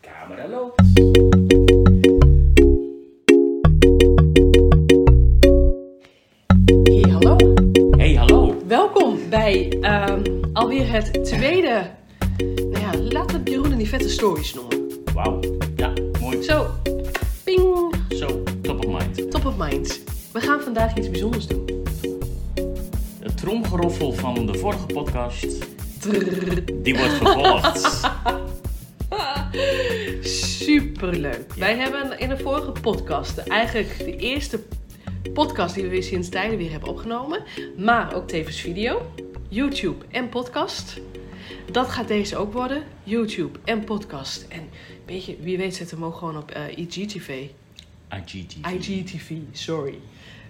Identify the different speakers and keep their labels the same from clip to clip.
Speaker 1: Camera loopt.
Speaker 2: Hey, hallo.
Speaker 1: Hey, hallo.
Speaker 2: Welkom bij ehm, alweer het tweede. Nou ja, laat het Jeroen en die vette stories noemen.
Speaker 1: Wauw. Ja, mooi.
Speaker 2: Zo, ping,
Speaker 1: Zo, top of mind.
Speaker 2: top of mind. We gaan vandaag iets bijzonders doen.
Speaker 1: Het tromgeroffel van de vorige podcast,
Speaker 2: Trrr,
Speaker 1: die wordt gevolgd.
Speaker 2: superleuk. Wij hebben in de vorige podcast, eigenlijk de eerste podcast die we weer sinds tijden weer hebben opgenomen, maar ook tevens video, YouTube en podcast. Dat gaat deze ook worden, YouTube en podcast. En weet je, wie weet zetten we hem ook gewoon op eh, IGTV.
Speaker 1: IGTV.
Speaker 2: IGTV, sorry.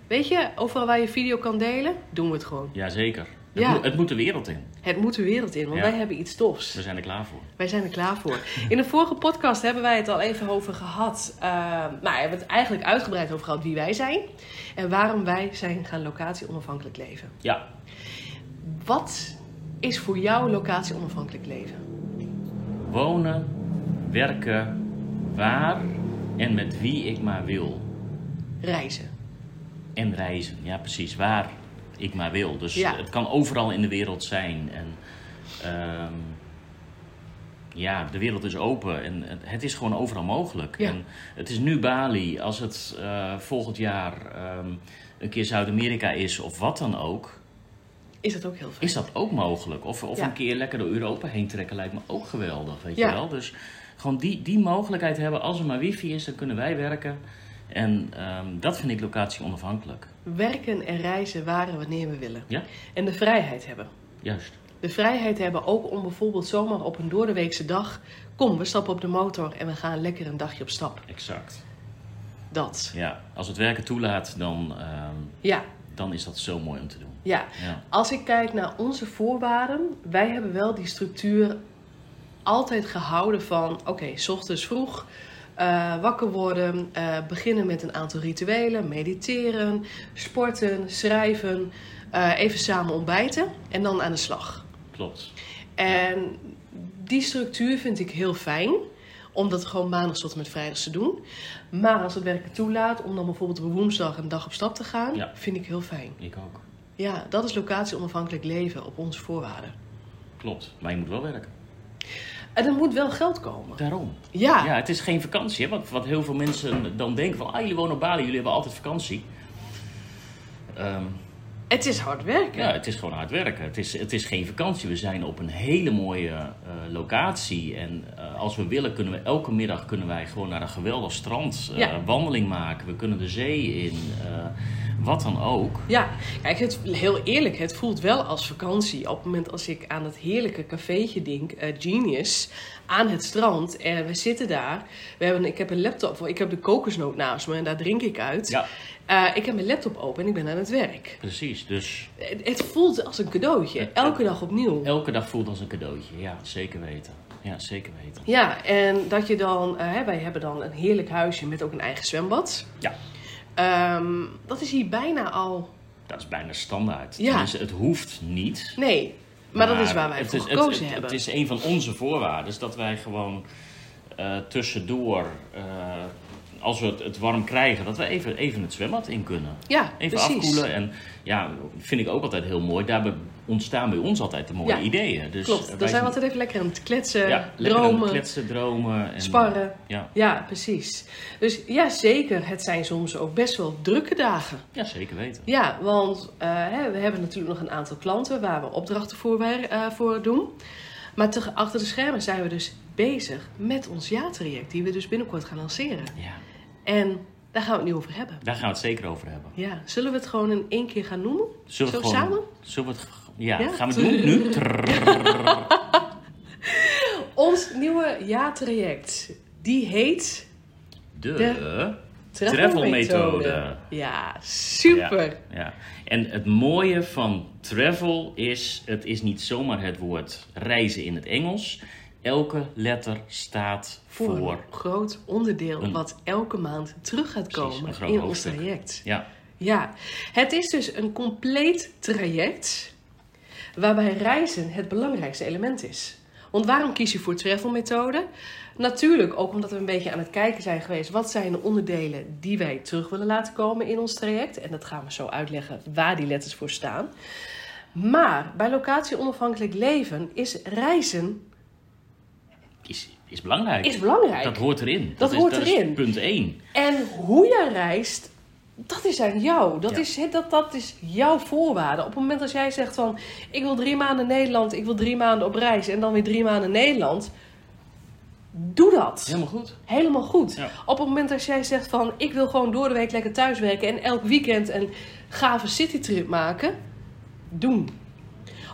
Speaker 2: Weet je, overal waar je video kan delen, doen we het gewoon.
Speaker 1: Jazeker. Het,
Speaker 2: Ja.
Speaker 1: moet, het moet de wereld in.
Speaker 2: Het moet de wereld in, want
Speaker 1: Ja.
Speaker 2: wij hebben iets tofs.
Speaker 1: We zijn er klaar voor.
Speaker 2: Wij zijn er klaar voor. In de vorige podcast hebben wij het al even over gehad. eh, maar we hebben het eigenlijk uitgebreid over gehad wie wij zijn. En waarom wij zijn gaan locatie onafhankelijk leven.
Speaker 1: Ja.
Speaker 2: Wat is voor jou locatie onafhankelijk leven?
Speaker 1: Wonen, werken, waar en met wie ik maar wil.
Speaker 2: Reizen.
Speaker 1: En reizen. Ja, precies. Waar ik maar wil. Dus
Speaker 2: Ja.
Speaker 1: het kan overal in de wereld zijn. En, ehm, ja, de wereld is open en het- het is gewoon overal mogelijk.
Speaker 2: Ja.
Speaker 1: En het is nu Bali. Als het eh, volgend jaar ehm, een keer Zuid-Amerika is of wat dan ook,
Speaker 2: Is dat ook heel fijn?
Speaker 1: is dat ook mogelijk. Of, of
Speaker 2: Ja.
Speaker 1: een keer lekker door Europa heen trekken lijkt me ook geweldig, weet
Speaker 2: Ja.
Speaker 1: je wel. Dus gewoon die, die mogelijkheid hebben. Als er maar wifi is, dan kunnen wij werken. En ehm, dat vind ik locatie onafhankelijk.
Speaker 2: Werken en reizen waar en wanneer we willen.
Speaker 1: Ja,
Speaker 2: En de vrijheid hebben.
Speaker 1: juist.
Speaker 2: De vrijheid hebben ook om bijvoorbeeld zomaar op een doordeweekse dag. Kom, we stappen op de motor en we gaan lekker een dagje op stap.
Speaker 1: Exact.
Speaker 2: Dat.
Speaker 1: Ja, als het werken toelaat, dan, ehm,
Speaker 2: Ja,
Speaker 1: dan is dat zo mooi om te doen.
Speaker 2: ja.
Speaker 1: Ja,
Speaker 2: Als ik kijk naar onze voorwaarden, wij hebben wel die structuur altijd gehouden van: oké, s ochtends vroeg. eh, wakker worden, eh, beginnen met een aantal rituelen, mediteren, sporten, schrijven, eh, even samen ontbijten en dan aan de slag.
Speaker 1: klopt.
Speaker 2: En die structuur vind ik heel fijn. Om dat gewoon maandags tot en met vrijdags te doen. Maar als het werken toelaat, om dan bijvoorbeeld op woensdag een dag op stap te gaan,
Speaker 1: Ja.
Speaker 2: vind ik heel fijn.
Speaker 1: Ik ook.
Speaker 2: Ja, dat is locatie onafhankelijk leven op onze voorwaarden.
Speaker 1: Klopt. Maar je moet wel werken.
Speaker 2: En er moet wel geld komen.
Speaker 1: Daarom.
Speaker 2: Ja,
Speaker 1: Ah. Ja, het is geen vakantie. Hè? Wat, wat heel veel mensen dan denken van, ah, jullie wonen op Bali, jullie hebben altijd vakantie. Ehm,
Speaker 2: het is hard werken.
Speaker 1: ja, het is gewoon hard werken. Het is, het is geen vakantie. We zijn op een hele mooie eh, locatie. En eh, als we willen, kunnen we elke middag kunnen wij gewoon naar een geweldig strand. eh,
Speaker 2: Ja.
Speaker 1: Wandeling maken. We kunnen de zee in. eh, wat dan ook.
Speaker 2: Ja, kijk, het, heel eerlijk, het voelt wel als vakantie. Op het moment als ik aan dat heerlijke cafeetje denk, eh, Genius, aan het strand. En we zitten daar. We hebben, ik heb een laptop, ik heb de kokosnoot naast me en daar drink ik uit.
Speaker 1: Ja,
Speaker 2: Eh, ik heb mijn laptop open en ik ben aan het werk.
Speaker 1: precies. Dus
Speaker 2: Het, het voelt als een cadeautje, elke dag opnieuw.
Speaker 1: Elke dag voelt als een cadeautje. Ja, zeker weten. Ja, zeker weten.
Speaker 2: Ja, en dat je dan, eh, hè, wij hebben dan een heerlijk huisje met ook een eigen zwembad.
Speaker 1: Ja,
Speaker 2: Ehm, dat is hier bijna al.
Speaker 1: dat is bijna standaard.
Speaker 2: Ja.
Speaker 1: Tenminste, het hoeft niet.
Speaker 2: Nee, maar, dat is waar wij
Speaker 1: het
Speaker 2: voor
Speaker 1: is- het-
Speaker 2: gekozen
Speaker 1: het-
Speaker 2: hebben.
Speaker 1: Het is een van onze voorwaarden. Dat wij gewoon eh, tussendoor, eh, als we het, het warm krijgen, dat we even, even het zwembad in kunnen.
Speaker 2: ja,
Speaker 1: Even
Speaker 2: precies.
Speaker 1: afkoelen. En ja, vind ik ook altijd heel mooi. Daarbij ontstaan bij ons altijd de mooie
Speaker 2: Ja,
Speaker 1: ideeën. Dus
Speaker 2: Klopt,
Speaker 1: eh,
Speaker 2: dan
Speaker 1: wij
Speaker 2: zijn we altijd even lekker aan het kletsen,
Speaker 1: ja, lekker aan het
Speaker 2: dromen,
Speaker 1: kletsen, dromen. En,
Speaker 2: sparren.
Speaker 1: Ja.
Speaker 2: Ja, precies. Dus ja, zeker, het zijn soms ook best wel drukke dagen.
Speaker 1: ja, zeker weten.
Speaker 2: Ja, want eh, hè, we hebben natuurlijk nog een aantal klanten waar we opdrachten voor, wer- eh, voor doen. Maar te, achter de schermen zijn we dus bezig met ons ja-traject, die we dus binnenkort gaan lanceren.
Speaker 1: Ja,
Speaker 2: En daar gaan we het nu over hebben.
Speaker 1: daar gaan we het zeker over hebben.
Speaker 2: Ja, zullen we het gewoon in één keer gaan noemen?
Speaker 1: Zullen we
Speaker 2: Zo
Speaker 1: het gewoon,
Speaker 2: samen?
Speaker 1: Zullen we het, g- ja,
Speaker 2: Ja?
Speaker 1: gaan we het doen nu? Trrr.
Speaker 2: Ons nieuwe ja-traject, die heet
Speaker 1: De,
Speaker 2: Travel
Speaker 1: Travelmethode.
Speaker 2: Methode. Ja, super.
Speaker 1: Ja, ja. En het mooie van travel is, het is niet zomaar het woord reizen in het Engels. Elke letter staat
Speaker 2: Voor
Speaker 1: voor.
Speaker 2: een groot onderdeel
Speaker 1: Een-
Speaker 2: wat elke maand terug gaat
Speaker 1: Precies,
Speaker 2: komen
Speaker 1: een groot
Speaker 2: in
Speaker 1: hoofdstuk.
Speaker 2: ons traject.
Speaker 1: Ja,
Speaker 2: Ja, het is dus een compleet traject waarbij reizen het belangrijkste element is. Want waarom kies je voor travelmethode? Natuurlijk ook omdat we een beetje aan het kijken zijn geweest. Wat zijn de onderdelen die wij terug willen laten komen in ons traject? En dat gaan we zo uitleggen waar die letters voor staan. Maar bij locatie onafhankelijk leven is reizen
Speaker 1: Is, is belangrijk.
Speaker 2: is belangrijk.
Speaker 1: dat hoort erin.
Speaker 2: Dat hoort
Speaker 1: is, dat
Speaker 2: erin.
Speaker 1: Is punt 1.
Speaker 2: En hoe jij reist, dat is aan jou. Dat,
Speaker 1: Ja.
Speaker 2: is, hè, dat, dat is jouw voorwaarde. Op het moment dat jij zegt van... ik wil drie maanden Nederland, ik wil drie maanden op reis... en dan weer drie maanden Nederland... doe dat.
Speaker 1: Helemaal goed.
Speaker 2: Helemaal goed.
Speaker 1: Ja.
Speaker 2: Op het moment dat jij zegt van... ik wil gewoon door de week lekker thuiswerken... en elk weekend een gave citytrip maken... doen.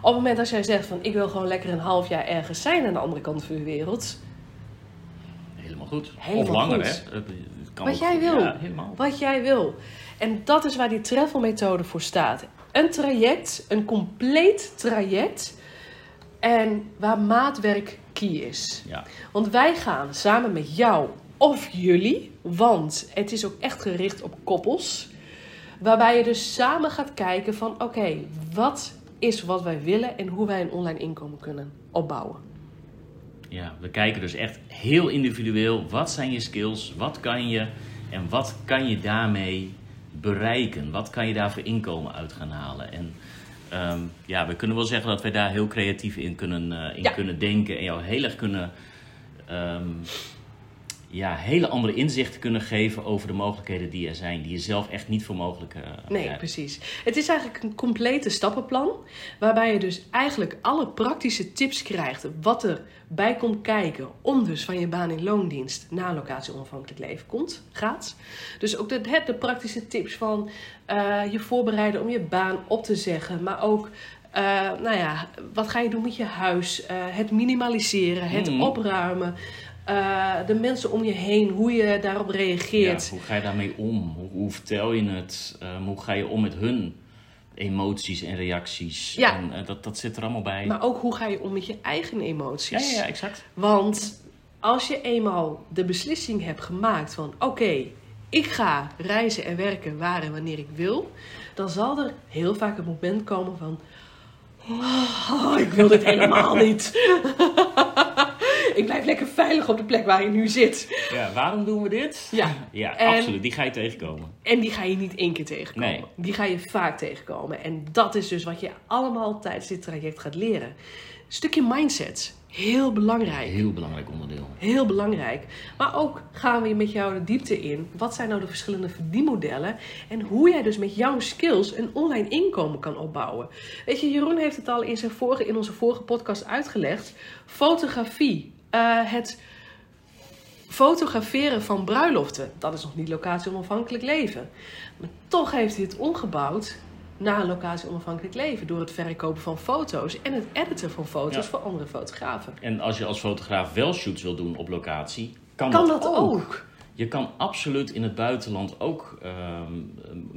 Speaker 2: Op het moment dat jij zegt van... ik wil gewoon lekker een half jaar ergens zijn... aan de andere kant van de wereld...
Speaker 1: Helemaal goed.
Speaker 2: Helemaal
Speaker 1: of langer,
Speaker 2: goed.
Speaker 1: hè? Het- het kan
Speaker 2: Wat
Speaker 1: ook-
Speaker 2: jij wil.
Speaker 1: Ja, helemaal.
Speaker 2: wat jij wil. En dat is waar die travel methode voor staat. Een traject, een compleet traject. En waar maatwerk key is.
Speaker 1: Ja.
Speaker 2: Want wij gaan samen met jou of jullie, want het is ook echt gericht op koppels. Waarbij je dus samen gaat kijken van oké, wat is wat wij willen en hoe wij een online inkomen kunnen opbouwen.
Speaker 1: ja, we kijken dus echt heel individueel. Wat zijn je skills? Wat kan je? En wat kan je daarmee bereiken? Wat kan je daar voor inkomen uit gaan halen? En ehm, ja, we kunnen wel zeggen dat wij daar heel creatief in kunnen, eh, in
Speaker 2: Ja.
Speaker 1: kunnen denken. En jou heel erg kunnen... ehm, ja, hele andere inzichten kunnen geven over de mogelijkheden die er zijn. Die je zelf echt niet voor mogelijk eh
Speaker 2: Nee,
Speaker 1: hebt.
Speaker 2: precies. Het is eigenlijk een complete stappenplan. Waarbij je dus eigenlijk alle praktische tips krijgt. Wat er bij komt kijken. Om dus van je baan in loondienst naar een locatie onafhankelijk leven komt, gaat. Dus ook de, hè, de praktische tips van eh, je voorbereiden om je baan op te zeggen. Maar ook, eh, nou ja, wat ga je doen met je huis? eh, het minimaliseren, het
Speaker 1: Mhm.
Speaker 2: opruimen. eh, de mensen om je heen, hoe je daarop reageert.
Speaker 1: Ja, hoe ga je daarmee om? Hoe, hoe vertel je het? Ehm, hoe ga je om met hun emoties en reacties?
Speaker 2: Ja. Nou,
Speaker 1: En, eh, dat, dat zit er allemaal bij.
Speaker 2: Maar ook hoe ga je om met je eigen
Speaker 1: ja,
Speaker 2: emoties?
Speaker 1: ja, ja, exact.
Speaker 2: Want als je eenmaal de beslissing hebt gemaakt van oké, ik ga reizen en werken waar en wanneer ik wil, dan zal er heel vaak een moment komen van "Oh, ik wil dit helemaal niet. ik blijf lekker veilig op de plek waar je nu zit.
Speaker 1: Ja, waarom doen we dit?
Speaker 2: Ja.
Speaker 1: Ja,
Speaker 2: En-
Speaker 1: absoluut. Die ga je tegenkomen.
Speaker 2: En die ga je niet één keer tegenkomen.
Speaker 1: Nee.
Speaker 2: Die ga je vaak tegenkomen. En dat is dus wat je allemaal tijdens dit traject gaat leren. stukje mindset. Heel belangrijk.
Speaker 1: Heel belangrijk onderdeel.
Speaker 2: Heel belangrijk. Maar ook gaan we met jou de diepte in. Wat zijn nou de verschillende verdienmodellen? En hoe jij dus met jouw skills een online inkomen kan opbouwen. Weet je, Jeroen heeft het al in, zijn vorige, in onze vorige podcast uitgelegd. Fotografie. eh, het fotograferen van bruiloften. Dat is nog niet locatie onafhankelijk leven. Maar toch heeft hij het omgebouwd naar een locatie onafhankelijk leven. Door het verkopen van foto's en het editen van foto's
Speaker 1: Ja.
Speaker 2: voor andere fotografen.
Speaker 1: En als je als fotograaf wel shoots wil doen op locatie, kan,
Speaker 2: Kan dat ook?
Speaker 1: Je kan absoluut in het buitenland ook ehm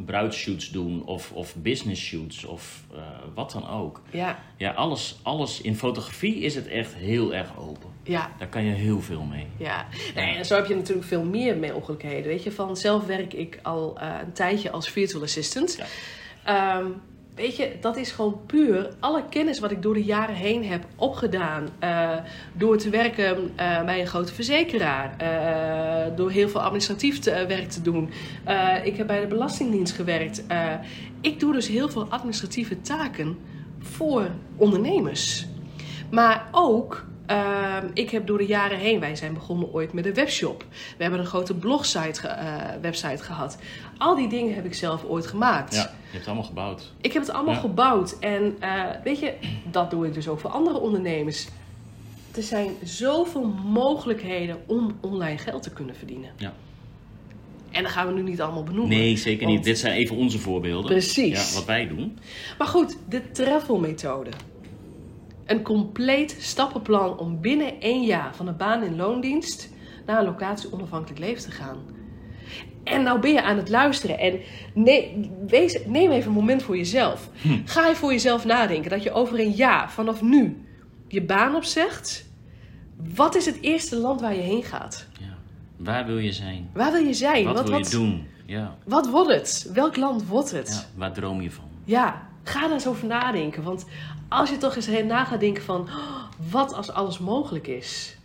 Speaker 1: bruidshoots doen of, of business shoots of eh, wat dan ook.
Speaker 2: Ja,
Speaker 1: Ja, alles, alles in fotografie is het echt heel erg open.
Speaker 2: ja,
Speaker 1: Daar kan je heel veel mee.
Speaker 2: ja. Nee, en zo heb je natuurlijk veel meer mogelijkheden. Weet je, van zelf werk ik al eh, een tijdje als virtual assistant.
Speaker 1: Ja.
Speaker 2: Ehm, weet je, dat is gewoon puur alle kennis wat ik door de jaren heen heb opgedaan. eh, door te werken eh, bij een grote verzekeraar. eh, door heel veel administratief te- eh, werk te doen. Eh, ik heb bij de Belastingdienst gewerkt. Eh, ik doe dus heel veel administratieve taken voor ondernemers. Maar ook, ehm, ik heb door de jaren heen, wij zijn begonnen ooit met een webshop. We hebben een grote blogsite ge- eh, website gehad. Al die dingen heb ik zelf ooit gemaakt.
Speaker 1: Ja, je hebt het allemaal gebouwd.
Speaker 2: Ik heb het allemaal
Speaker 1: Ja.
Speaker 2: gebouwd. En eh, weet je, dat doe ik dus ook voor andere ondernemers. Er zijn zoveel mogelijkheden om online geld te kunnen verdienen.
Speaker 1: Ja.
Speaker 2: En dat gaan we nu niet allemaal benoemen.
Speaker 1: Nee, zeker
Speaker 2: Want-
Speaker 1: niet. Dit zijn even onze voorbeelden.
Speaker 2: Precies.
Speaker 1: Ja, wat wij doen.
Speaker 2: Maar goed, de travelmethode. Een compleet stappenplan om binnen één jaar van een baan in loondienst naar een locatie onafhankelijk leven te gaan. En nou ben je aan het luisteren en nee, wees, neem even een moment voor jezelf. Ga je voor jezelf nadenken dat je over een jaar vanaf nu je baan opzegt. Wat is het eerste land waar je heen gaat?
Speaker 1: Ja. Waar wil je zijn?
Speaker 2: Waar wil je zijn?
Speaker 1: wat wil je doen? Ja.
Speaker 2: wat wordt het? Welk land wordt het?
Speaker 1: ja. Waar droom je van?
Speaker 2: Ja, Ga daar eens over nadenken. Want als je toch eens heen na gaat denken van... "Oh, wat als alles mogelijk is?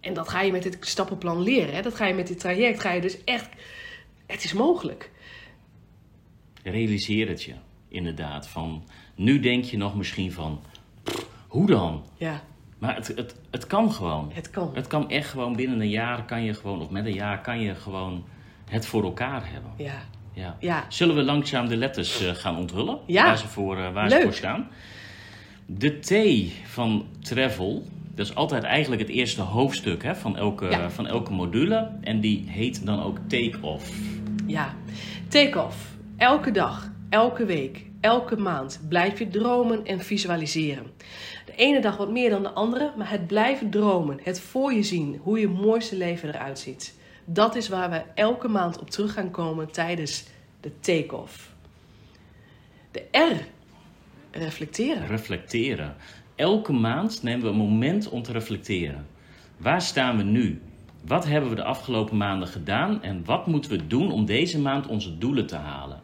Speaker 2: En dat ga je met dit stappenplan leren. Hè? Dat ga je met dit traject. Ga je dus echt... Het is mogelijk.
Speaker 1: Realiseer het je, inderdaad. Van, nu denk je nog misschien van, "Pff, hoe dan?
Speaker 2: Ja,
Speaker 1: Maar het, het, het kan gewoon.
Speaker 2: het kan.
Speaker 1: Het kan echt gewoon binnen een jaar kan je gewoon, of met een jaar kan je gewoon het voor elkaar hebben.
Speaker 2: Ja,
Speaker 1: Ja.
Speaker 2: ja.
Speaker 1: Zullen we langzaam de letters eh, gaan onthullen?
Speaker 2: Ja.
Speaker 1: Waar, ze voor, eh, waar ze
Speaker 2: Leuk.
Speaker 1: voor staan. De T van travel. Dat is altijd eigenlijk het eerste hoofdstuk hè, van, elke,
Speaker 2: Ja.
Speaker 1: van elke module. En die heet dan ook take-off.
Speaker 2: Ja, take-off. Elke dag, elke week, elke maand blijf je dromen en visualiseren. De ene dag wat meer dan de andere, maar het blijven dromen, het voor je zien, hoe je mooiste leven eruit ziet. Dat is waar we elke maand op terug gaan komen tijdens de take-off. De R, reflecteren.
Speaker 1: Reflecteren. Elke maand nemen we een moment om te reflecteren. Waar staan we nu? Wat hebben we de afgelopen maanden gedaan? En wat moeten we doen om deze maand onze doelen te halen?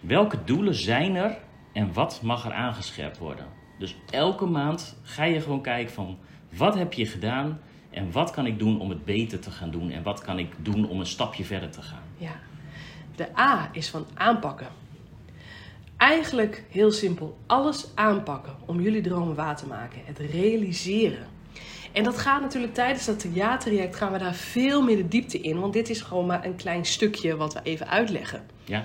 Speaker 1: Welke doelen zijn er en wat mag er aangescherpt worden? Dus elke maand ga je gewoon kijken van wat heb je gedaan en wat kan ik doen om het beter te gaan doen en wat kan ik doen om een stapje verder te gaan.
Speaker 2: Ja. De A is van aanpakken. Eigenlijk heel simpel. Alles aanpakken om jullie dromen waar te maken. Het realiseren. En dat gaat natuurlijk tijdens dat theaterreact gaan we daar veel meer de diepte in. Want dit is gewoon maar een klein stukje wat we even uitleggen.
Speaker 1: Ja,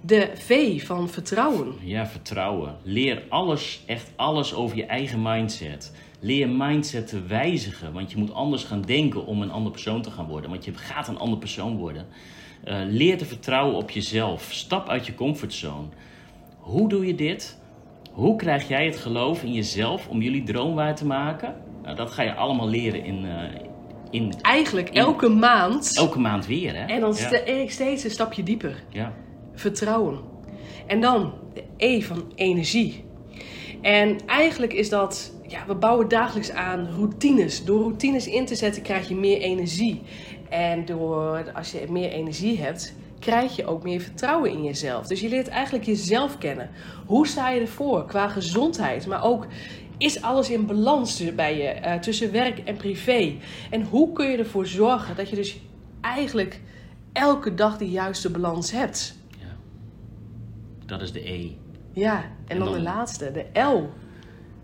Speaker 2: De V van vertrouwen.
Speaker 1: ja vertrouwen. Leer alles, echt alles over je eigen mindset. Leer mindset te wijzigen, want je moet anders gaan denken om een ander persoon te gaan worden. Want je gaat een ander persoon worden. Eh, leer te vertrouwen op jezelf. Stap uit je comfortzone. Hoe doe je dit? Hoe krijg jij het geloof in jezelf om jullie droom waar te maken? Nou, dat ga je allemaal leren in, eh, in
Speaker 2: Eigenlijk elke maand.
Speaker 1: elke maand weer. Hè?
Speaker 2: En dan
Speaker 1: ja.
Speaker 2: ste- steeds een stapje dieper.
Speaker 1: ja.
Speaker 2: vertrouwen. En dan de E van energie. En eigenlijk is dat, ja, we bouwen dagelijks aan routines. Door routines in te zetten krijg je meer energie. En door, als je meer energie hebt, krijg je ook meer vertrouwen in jezelf. Dus je leert eigenlijk jezelf kennen. Hoe sta je ervoor qua gezondheid, maar ook is alles in balans tussen- bij je, eh, tussen werk en privé? En hoe kun je ervoor zorgen dat je dus eigenlijk elke dag die juiste balans hebt?
Speaker 1: ja. Dat is de E.
Speaker 2: Ja, en, dan,
Speaker 1: dan-
Speaker 2: de laatste, de L.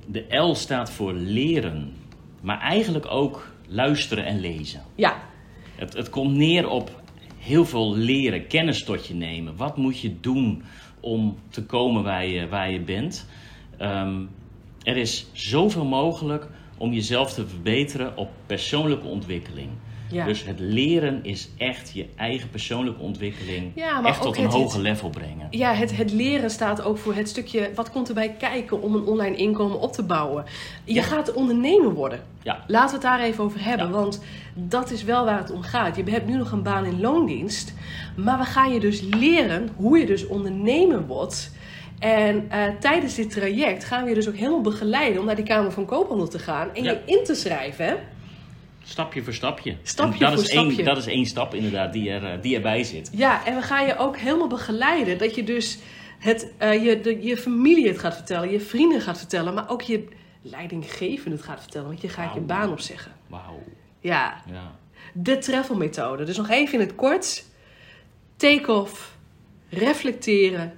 Speaker 1: De L staat voor leren, maar eigenlijk ook luisteren en lezen.
Speaker 2: Ja,
Speaker 1: Het, het komt neer op heel veel leren, kennis tot je nemen. Wat moet je doen om te komen waar je, waar je bent? Ehm, er is zoveel mogelijk om jezelf te verbeteren op persoonlijke ontwikkeling.
Speaker 2: ja.
Speaker 1: Dus het leren is echt je eigen persoonlijke ontwikkeling
Speaker 2: Ja, maar
Speaker 1: echt tot
Speaker 2: ook
Speaker 1: een
Speaker 2: het-
Speaker 1: hoger level brengen.
Speaker 2: ja het, het leren staat ook voor het stukje wat komt erbij kijken om een online inkomen op te bouwen. Je
Speaker 1: Ja.
Speaker 2: gaat ondernemer worden.
Speaker 1: Ja,
Speaker 2: Laten we het daar even over hebben,
Speaker 1: Ja.
Speaker 2: want dat is wel waar het om gaat. Je hebt nu nog een baan in loondienst, maar we gaan je dus leren hoe je dus ondernemer wordt. En eh, tijdens dit traject gaan we je dus ook helemaal begeleiden om naar die Kamer van Koophandel te gaan en
Speaker 1: Ja.
Speaker 2: je in te schrijven. hè?
Speaker 1: stapje voor stapje.
Speaker 2: Stapje
Speaker 1: En dat
Speaker 2: voor
Speaker 1: is
Speaker 2: stapje.
Speaker 1: Één, dat is één stap inderdaad die, er, eh, die erbij zit.
Speaker 2: Ja, en we gaan je ook helemaal begeleiden. Dat je dus het, eh, je, de- je familie het gaat vertellen, je vrienden gaat vertellen, maar ook je leidinggevende het gaat vertellen, want je gaat je
Speaker 1: Wauw.
Speaker 2: baan opzeggen.
Speaker 1: Wauw.
Speaker 2: Ja,
Speaker 1: Ja.
Speaker 2: de travelmethode. Dus nog even in het kort. Take-off, reflecteren,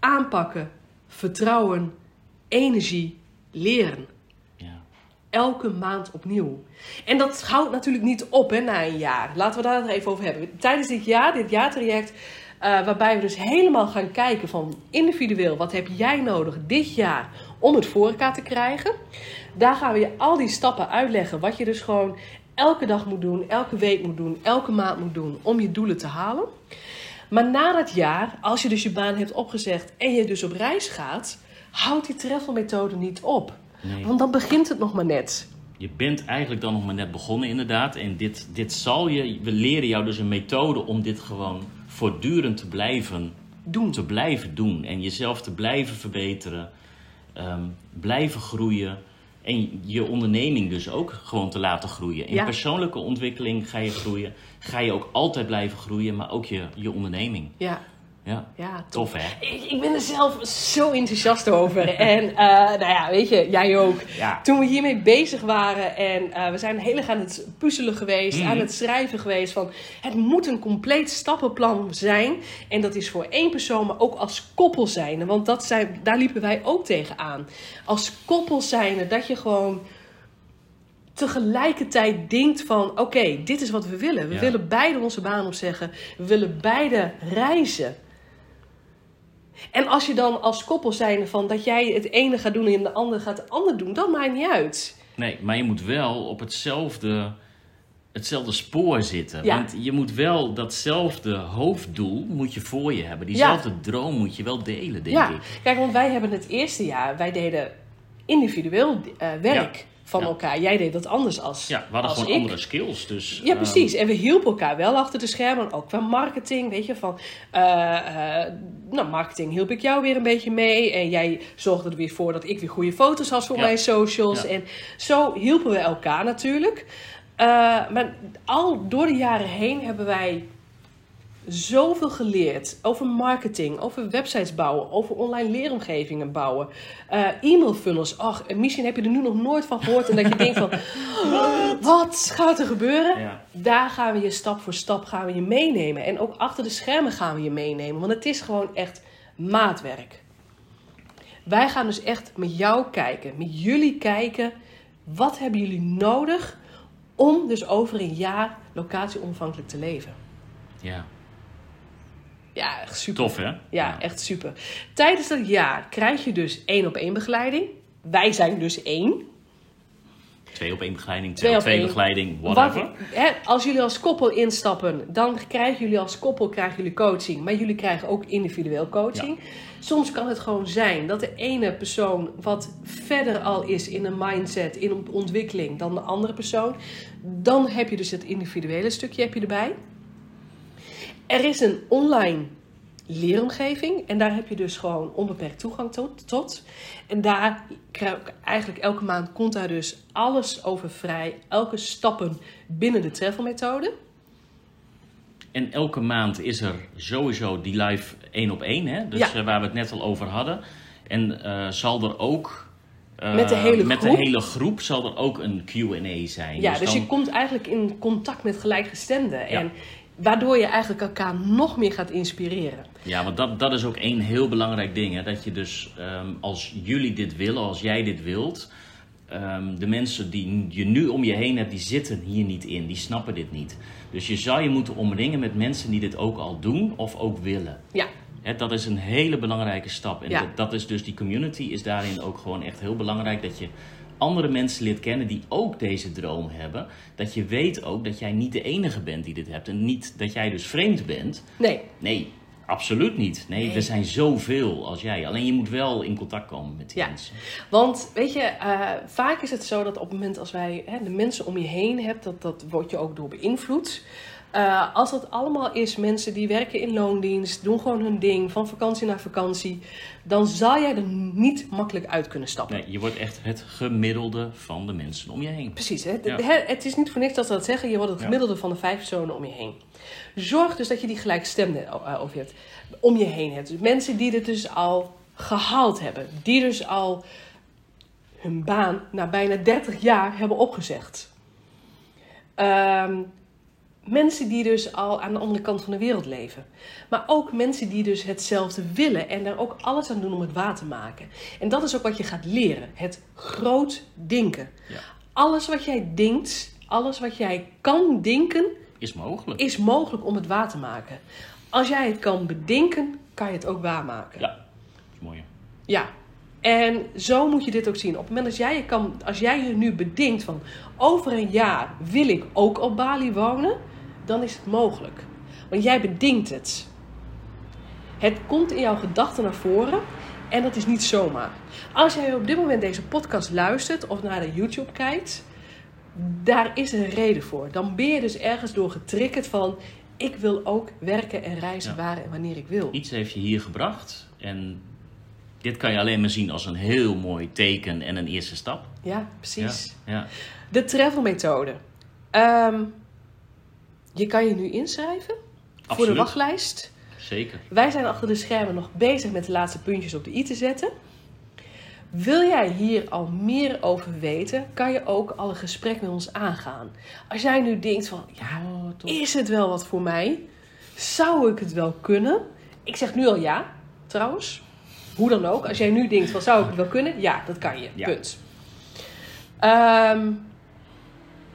Speaker 2: aanpakken, vertrouwen, energie, leren.
Speaker 1: ja.
Speaker 2: Elke maand opnieuw. En dat houdt natuurlijk niet op hè, na een jaar. Laten we daar nog even over hebben. Tijdens dit jaar, dit jaartraject, eh, waarbij we dus helemaal gaan kijken van individueel, wat heb jij nodig dit jaar om het voor elkaar te krijgen? Daar gaan we je al die stappen uitleggen, wat je dus gewoon elke dag moet doen, elke week moet doen, elke maand moet doen om je doelen te halen. Maar na dat jaar, als je dus je baan hebt opgezegd en je dus op reis gaat, houdt die treffelmethode niet op.
Speaker 1: Nee.
Speaker 2: Want dan begint het nog maar net.
Speaker 1: Je bent eigenlijk dan nog maar net begonnen inderdaad. En dit, dit zal je... We leren jou dus een methode om dit gewoon voortdurend te blijven
Speaker 2: Doen.
Speaker 1: te blijven doen. En jezelf te blijven verbeteren. ehm, blijven groeien. En je onderneming dus ook gewoon te laten groeien. In
Speaker 2: Ja.
Speaker 1: persoonlijke ontwikkeling ga je groeien. Ga je ook altijd blijven groeien, maar ook je, je onderneming.
Speaker 2: Ja.
Speaker 1: Ja,
Speaker 2: Ja,
Speaker 1: tof hè?
Speaker 2: Ik, ik ben er zelf zo enthousiast over. En eh, nou ja, weet je, jij ook.
Speaker 1: Ja.
Speaker 2: Toen we hiermee bezig waren en eh, we zijn heel erg aan het puzzelen geweest,
Speaker 1: Mhm.
Speaker 2: aan het schrijven geweest van het moet een compleet stappenplan zijn. En dat is voor één persoon, maar ook als koppel zijnde. Want dat zijn, daar liepen wij ook tegen aan. Als koppel zijnde, dat je gewoon tegelijkertijd denkt van... oké, dit is wat we willen. We
Speaker 1: Ja.
Speaker 2: willen beide onze baan opzeggen. We willen beide reizen. En als je dan als koppel zijnde van... dat jij het ene gaat doen en de ander gaat het ander doen... dat maakt niet uit.
Speaker 1: Nee, maar je moet wel op hetzelfde, hetzelfde spoor zitten.
Speaker 2: Ja.
Speaker 1: Want je moet wel datzelfde hoofddoel moet je voor je hebben. Diezelfde droom moet je wel delen, denk
Speaker 2: ja,
Speaker 1: ik.
Speaker 2: kijk, want wij hebben het eerste jaar... wij deden individueel eh, werk
Speaker 1: Ja.
Speaker 2: van
Speaker 1: Ja.
Speaker 2: elkaar. Jij deed dat anders als
Speaker 1: Ja, we hadden
Speaker 2: als
Speaker 1: gewoon
Speaker 2: ik.
Speaker 1: andere skills. Dus,
Speaker 2: Ja,
Speaker 1: eh,
Speaker 2: precies. En we hielpen elkaar wel achter de schermen. Ook qua marketing, weet je, van... eh, eh, nou, marketing hielp ik jou weer een beetje mee. En jij zorgde er weer voor dat ik weer goede foto's had voor
Speaker 1: Ja.
Speaker 2: mijn socials.
Speaker 1: Ja.
Speaker 2: En zo hielpen we elkaar natuurlijk. Eh, maar al door de jaren heen hebben wij zoveel geleerd over marketing, over websites bouwen, over online leeromgevingen bouwen, eh, e-mail funnels. Ach, en misschien heb je er nu nog nooit van gehoord en dat je denkt van, wat gaat er gebeuren?
Speaker 1: ja.
Speaker 2: Daar gaan we je stap voor stap gaan we je meenemen. En ook achter de schermen gaan we je meenemen. Want het is gewoon echt maatwerk. Wij gaan dus echt met jou kijken, met jullie kijken. Wat hebben jullie nodig om dus over een jaar locatieonafhankelijk te leven?
Speaker 1: ja,
Speaker 2: Ja, echt super.
Speaker 1: tof hè?
Speaker 2: Ja, echt super. Tijdens dat jaar krijg je dus één op één begeleiding. Wij zijn dus één.
Speaker 1: Twee op één begeleiding,
Speaker 2: Twee
Speaker 1: twee op
Speaker 2: op
Speaker 1: twee
Speaker 2: één.
Speaker 1: begeleiding,
Speaker 2: Wat-
Speaker 1: whatever.
Speaker 2: hè, als jullie als koppel instappen, dan krijgen jullie als koppel krijgen jullie coaching. Maar jullie krijgen ook individueel coaching. Soms kan het gewoon zijn dat de ene persoon wat verder al is in een mindset, in een ontwikkeling dan de andere persoon. Dan heb je dus het individuele stukje heb je erbij. Er is een online leeromgeving en daar heb je dus gewoon onbeperkt toegang tot. tot. En daar krijg ik eigenlijk elke maand komt daar dus alles over vrij, elke stappen binnen de travelmethode.
Speaker 1: En elke maand is er sowieso die live één op één, hè? Dus
Speaker 2: Ja.
Speaker 1: eh, waar we het net al over hadden. En eh, zal er ook. eh,
Speaker 2: Met de hele
Speaker 1: met
Speaker 2: groep?
Speaker 1: de hele groep zal er ook een QA zijn.
Speaker 2: Ja, dus,
Speaker 1: dan-
Speaker 2: je komt eigenlijk in contact met gelijkgestemden en
Speaker 1: Ja.
Speaker 2: waardoor je eigenlijk elkaar nog meer gaat inspireren.
Speaker 1: Ja, want dat, dat is ook één heel belangrijk ding. Hè? Dat je dus, ehm, als jullie dit willen, als jij dit wilt... ehm, de mensen die je nu om je heen hebt, die zitten hier niet in. Die snappen dit niet. Dus je zou je moeten omringen met mensen die dit ook al doen of ook willen.
Speaker 2: Ja,
Speaker 1: Hè, dat is een hele belangrijke stap. En
Speaker 2: Ja.
Speaker 1: dat, dat is dus die community is daarin ook gewoon echt heel belangrijk. Dat je andere mensen leert kennen die ook deze droom hebben. Dat je weet ook dat jij niet de enige bent die dit hebt. En niet dat jij dus vreemd bent.
Speaker 2: nee,
Speaker 1: Nee, absoluut niet. Nee,
Speaker 2: Nee.
Speaker 1: er zijn zoveel als jij. Alleen je moet wel in contact komen met die
Speaker 2: Ja.
Speaker 1: mensen.
Speaker 2: Want weet je, eh, vaak is het zo dat op het moment als wij hè, de mensen om je heen hebt, dat, dat word je ook door beïnvloed. Eh, als dat allemaal is mensen die werken in loondienst, doen gewoon hun ding, van vakantie naar vakantie, dan zal jij er niet makkelijk uit kunnen stappen.
Speaker 1: Nee, je wordt echt het gemiddelde van de mensen om je heen.
Speaker 2: Precies, hè? Het-
Speaker 1: Ja.
Speaker 2: hè, het is niet voor niks dat ze dat zeggen. Je wordt het
Speaker 1: Ja.
Speaker 2: gemiddelde van de vijf personen om je heen. Zorg dus dat je die gelijkstemden eh, over je hebt, om je heen hebt. Dus mensen die dit dus al gehaald hebben. Die dus al hun baan na bijna 30 jaar hebben opgezegd. Ehm, mensen die dus al aan de andere kant van de wereld leven. Maar ook mensen die dus hetzelfde willen en daar ook alles aan doen om het waar te maken. En dat is ook wat je gaat leren. Het groot denken.
Speaker 1: Ja.
Speaker 2: Alles wat jij denkt, alles wat jij kan denken,
Speaker 1: Is mogelijk.
Speaker 2: is mogelijk om het waar te maken. Als jij het kan bedenken, kan je het ook waarmaken.
Speaker 1: Ja, dat is mooi.
Speaker 2: Ja. En zo moet je dit ook zien. Op het moment dat jij je, kan, als jij je nu bedenkt van over een jaar wil ik ook op Bali wonen, dan is het mogelijk. Want jij bedenkt het. Het komt in jouw gedachten naar voren en dat is niet zomaar. Als jij op dit moment deze podcast luistert of naar de YouTube kijkt, daar is een reden voor. Dan ben je dus ergens door getriggerd van ik wil ook werken en reizen
Speaker 1: Ja.
Speaker 2: waar en wanneer ik wil.
Speaker 1: Iets heeft je hier gebracht. En dit kan je alleen maar zien als een heel mooi teken en een eerste stap.
Speaker 2: Ja, precies.
Speaker 1: Ja, ja.
Speaker 2: De travelmethode. Ehm, je kan je nu inschrijven voor de
Speaker 1: Absoluut.
Speaker 2: wachtlijst.
Speaker 1: Zeker.
Speaker 2: Wij zijn achter de schermen nog bezig met de laatste puntjes op de i te zetten. Wil jij hier al meer over weten, kan je ook al een gesprek met ons aangaan. Als jij nu denkt van, ja,
Speaker 1: Oh, top.
Speaker 2: is het wel wat voor mij? Zou ik het wel kunnen? Ik zeg nu al ja, trouwens. Hoe dan ook, als jij nu denkt van, zou ik het wel kunnen? Ja, dat kan je.
Speaker 1: Ja.
Speaker 2: Punt. Ehm,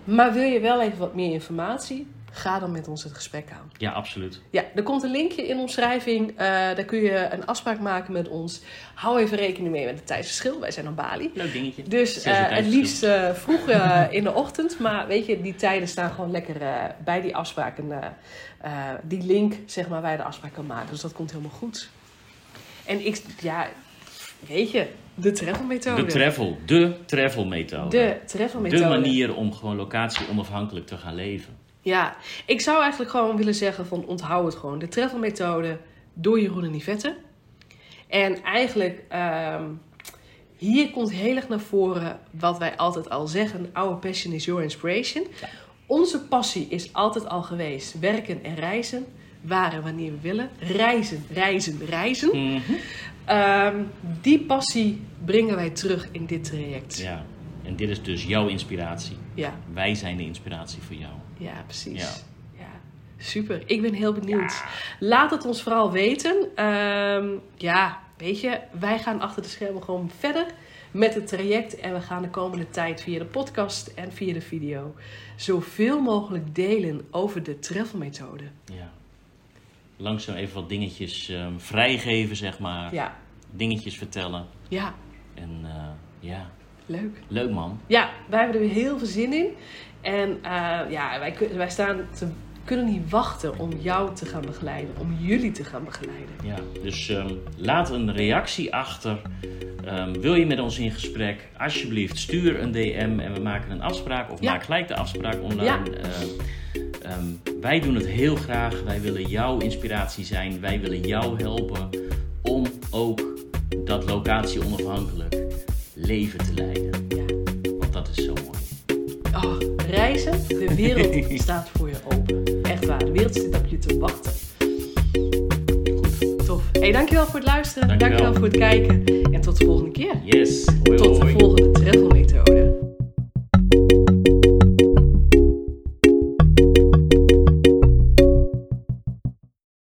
Speaker 2: maar wil je wel even wat meer informatie? Ga dan met ons het gesprek aan.
Speaker 1: Ja, absoluut.
Speaker 2: Ja, er komt een linkje in de omschrijving. Eh, daar kun je een afspraak maken met ons. Hou even rekening mee met het tijdsverschil. Wij zijn op Bali.
Speaker 1: Leuk dingetje.
Speaker 2: Dus
Speaker 1: Zes uur
Speaker 2: eh, het
Speaker 1: tijdsverschil.
Speaker 2: liefst eh, vroeg eh, in de ochtend. Maar weet je, die tijden staan gewoon lekker eh, bij die afspraak. En eh, eh, die link, zeg maar, waar je de afspraak kan maken. Dus dat komt helemaal goed. En ik, ja, weet je, de travelmethode.
Speaker 1: De travel, de travel methode.
Speaker 2: eh, de travelmethode.
Speaker 1: De manier om gewoon locatie onafhankelijk te gaan leven.
Speaker 2: Ja, ik zou eigenlijk gewoon willen zeggen van onthoud het gewoon. De travelmethode door Jeroen en Nivette. En eigenlijk, ehm, hier komt heel erg naar voren wat wij altijd al zeggen. Our passion is your inspiration. Onze passie is altijd al geweest. Werken en reizen. Waar en wanneer we willen. Reizen, reizen, reizen.
Speaker 1: Mhm.
Speaker 2: Ehm, die passie brengen wij terug in dit traject. Ja,
Speaker 1: Ja, en dit is dus jouw inspiratie.
Speaker 2: ja,
Speaker 1: Wij zijn de inspiratie voor jou.
Speaker 2: precies.
Speaker 1: Ja.
Speaker 2: Ja, super. Ik ben heel benieuwd. Laat het ons vooral weten. Ehm, ja, weet je, wij gaan achter de schermen gewoon verder met het traject. En we gaan de komende tijd via de podcast en via de video zoveel mogelijk delen over de travelmethode.
Speaker 1: Ja. Langzaam even wat dingetjes ehm, vrijgeven, zeg maar.
Speaker 2: Ja,
Speaker 1: Dingetjes vertellen.
Speaker 2: ja,
Speaker 1: En eh, ja,
Speaker 2: leuk.
Speaker 1: leuk man.
Speaker 2: Ja, wij hebben er weer heel veel zin in. En eh, ja, wij, kun- wij staan te, kunnen niet wachten om jou te gaan begeleiden, om jullie te gaan begeleiden.
Speaker 1: Ja, dus ehm, laat een reactie achter. Ehm, wil je met ons in gesprek? Alsjeblieft, stuur een DM en we maken een afspraak. Of
Speaker 2: Ja.
Speaker 1: maak gelijk de afspraak online.
Speaker 2: Ja.
Speaker 1: Ehm, ehm, wij doen het heel graag. Wij willen jouw inspiratie zijn. Wij willen jou helpen om ook dat locatie onafhankelijk leven te leiden.
Speaker 2: Ja.
Speaker 1: Want dat is zo mooi.
Speaker 2: Oh, reizen, de wereld staat voor je open. Echt waar, de wereld zit op je te wachten.
Speaker 1: Goed.
Speaker 2: Tof. Hey, dankjewel voor het luisteren,
Speaker 1: Dankjewel.
Speaker 2: dankjewel voor het kijken en tot de volgende keer.
Speaker 1: Yes. Hoi,
Speaker 2: Tot